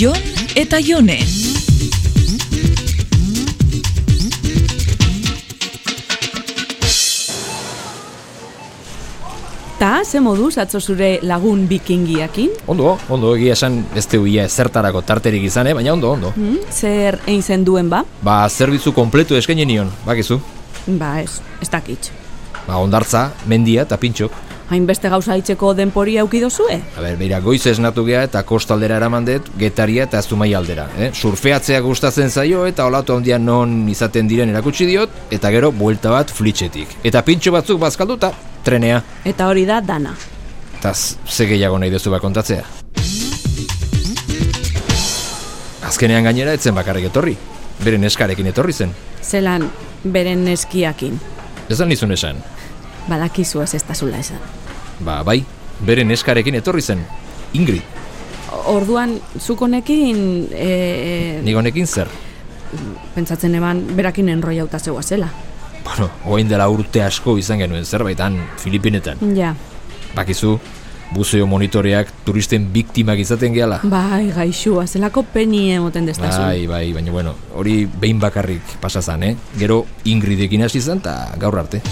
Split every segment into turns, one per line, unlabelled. Jon eta Jone.
Ta, ze moduz atzo zure lagun bikingiakin?
Ondo, ondo egia esan ez teuia zertarako tarterik izan, eh? baina ondo, ondo.
Hmm? Zer egin zen duen ba?
Ba, zerbitzu kompletu eskaini nion, bakizu.
Ba ez, ez dakit.
Ba, ondartza, mendia eta pintxok.
Hainbeste gauza itxeko denpori eh? aukidozue?
A ber, beira, goiz esnatu gea eta kostaldera eraman dut, getaria eta zumai aldera. Eh? Surfeatzea gustatzen zaio eta olatu handia non izaten diren erakutsi diot, eta gero buelta bat flitxetik. Eta pintxo batzuk bazkalduta, trenea.
Eta hori da dana.
Eta z- ze gehiago nahi duzu ba bakontatzea. Azkenean gainera etzen bakarrik etorri. Beren eskarekin etorri zen.
Zelan, beren neskiakin.
Esan nizun esan.
Badakizu ez ez tazula esan.
Ba, bai, beren eskarekin etorri zen. Ingrid,
Orduan, zuk honekin, e,
nik honekin zer?
pentsatzen eban, berakin enroiauta zegoa zela.
Bueno, oain dela urte asko izan genuen zerbaitan Filipinetan.
Ja,
Bakizu, buzeo monitoreak turisten biktimak izaten gehala.
bai, gaixua, zelako peni emoten destazun.
Bai, bai, baina bueno, hori behin bakarrik pasazan, eh? Gero Ingridekin hasi zen eta gaur arte.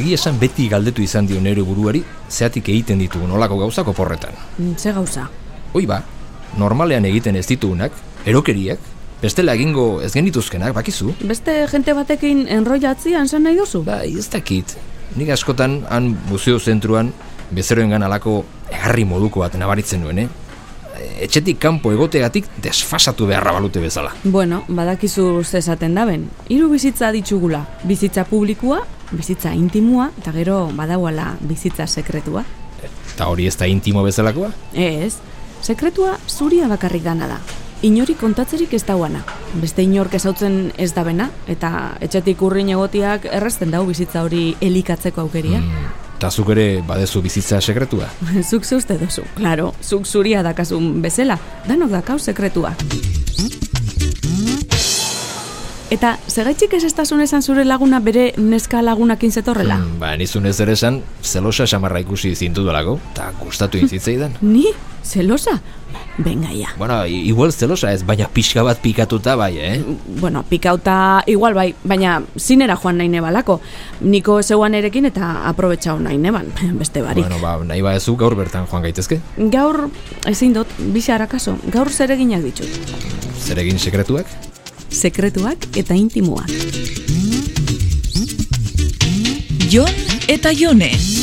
Egia esan beti galdetu izan dio nere buruari, zeatik egiten ditugun olako gauzako porretan.
Mm, Ze gauza.
Hoi ba, normalean egiten ez ditugunak, erokeriak, bestela egingo ez genituzkenak, bakizu?
Beste jente batekin enroiatzian zen nahi duzu?
Bai, ez dakit. Nik askotan, han museo zentruan, bezeroengan alako egarri moduko bat nabaritzen nuen, eh? Etxetik kanpo egotegatik desfasatu beharra balute bezala.
Bueno, badakizu ze esaten daben. Hiru bizitza ditugula. Bizitza publikoa, bizitza intimua, eta gero badauala bizitza sekretua.
Eta hori ez da intimo bezalakoa?
Ez, sekretua zuria bakarrik dana da. Inori kontatzerik ez dauana. Beste inork ezautzen ez dabena, eta etxetik urrin egotiak errezten dau bizitza hori elikatzeko aukeria.
Eta Hmm. zuk ere badezu bizitza sekretua.
zuk zeuste duzu, klaro, zuk zuria dakazun bezala, danok dakau sekretua. Eta segaitxik ez estasun esan zure laguna bere neska lagunakin zetorrela?
Mm, ba, nizun ez ere esan, zelosa samarra ikusi zintudalako, eta gustatu intzitzaidan.
Ni? Zelosa? Benga ja.
bueno, i- igual zelosa ez, baina pixka bat pikatuta bai, eh?
Bueno, pikauta igual bai, baina zinera joan nahi nebalako. Niko zeuan erekin eta aprobetxau nahi neban, beste barik.
Bueno, ba, nahi badezu gaur bertan joan gaitezke.
Gaur, ezin dut, bizarra kaso, gaur zereginak ditut.
Zeregin sekretuak?
Sekretuak eta intimoak.
Jon eta Jone.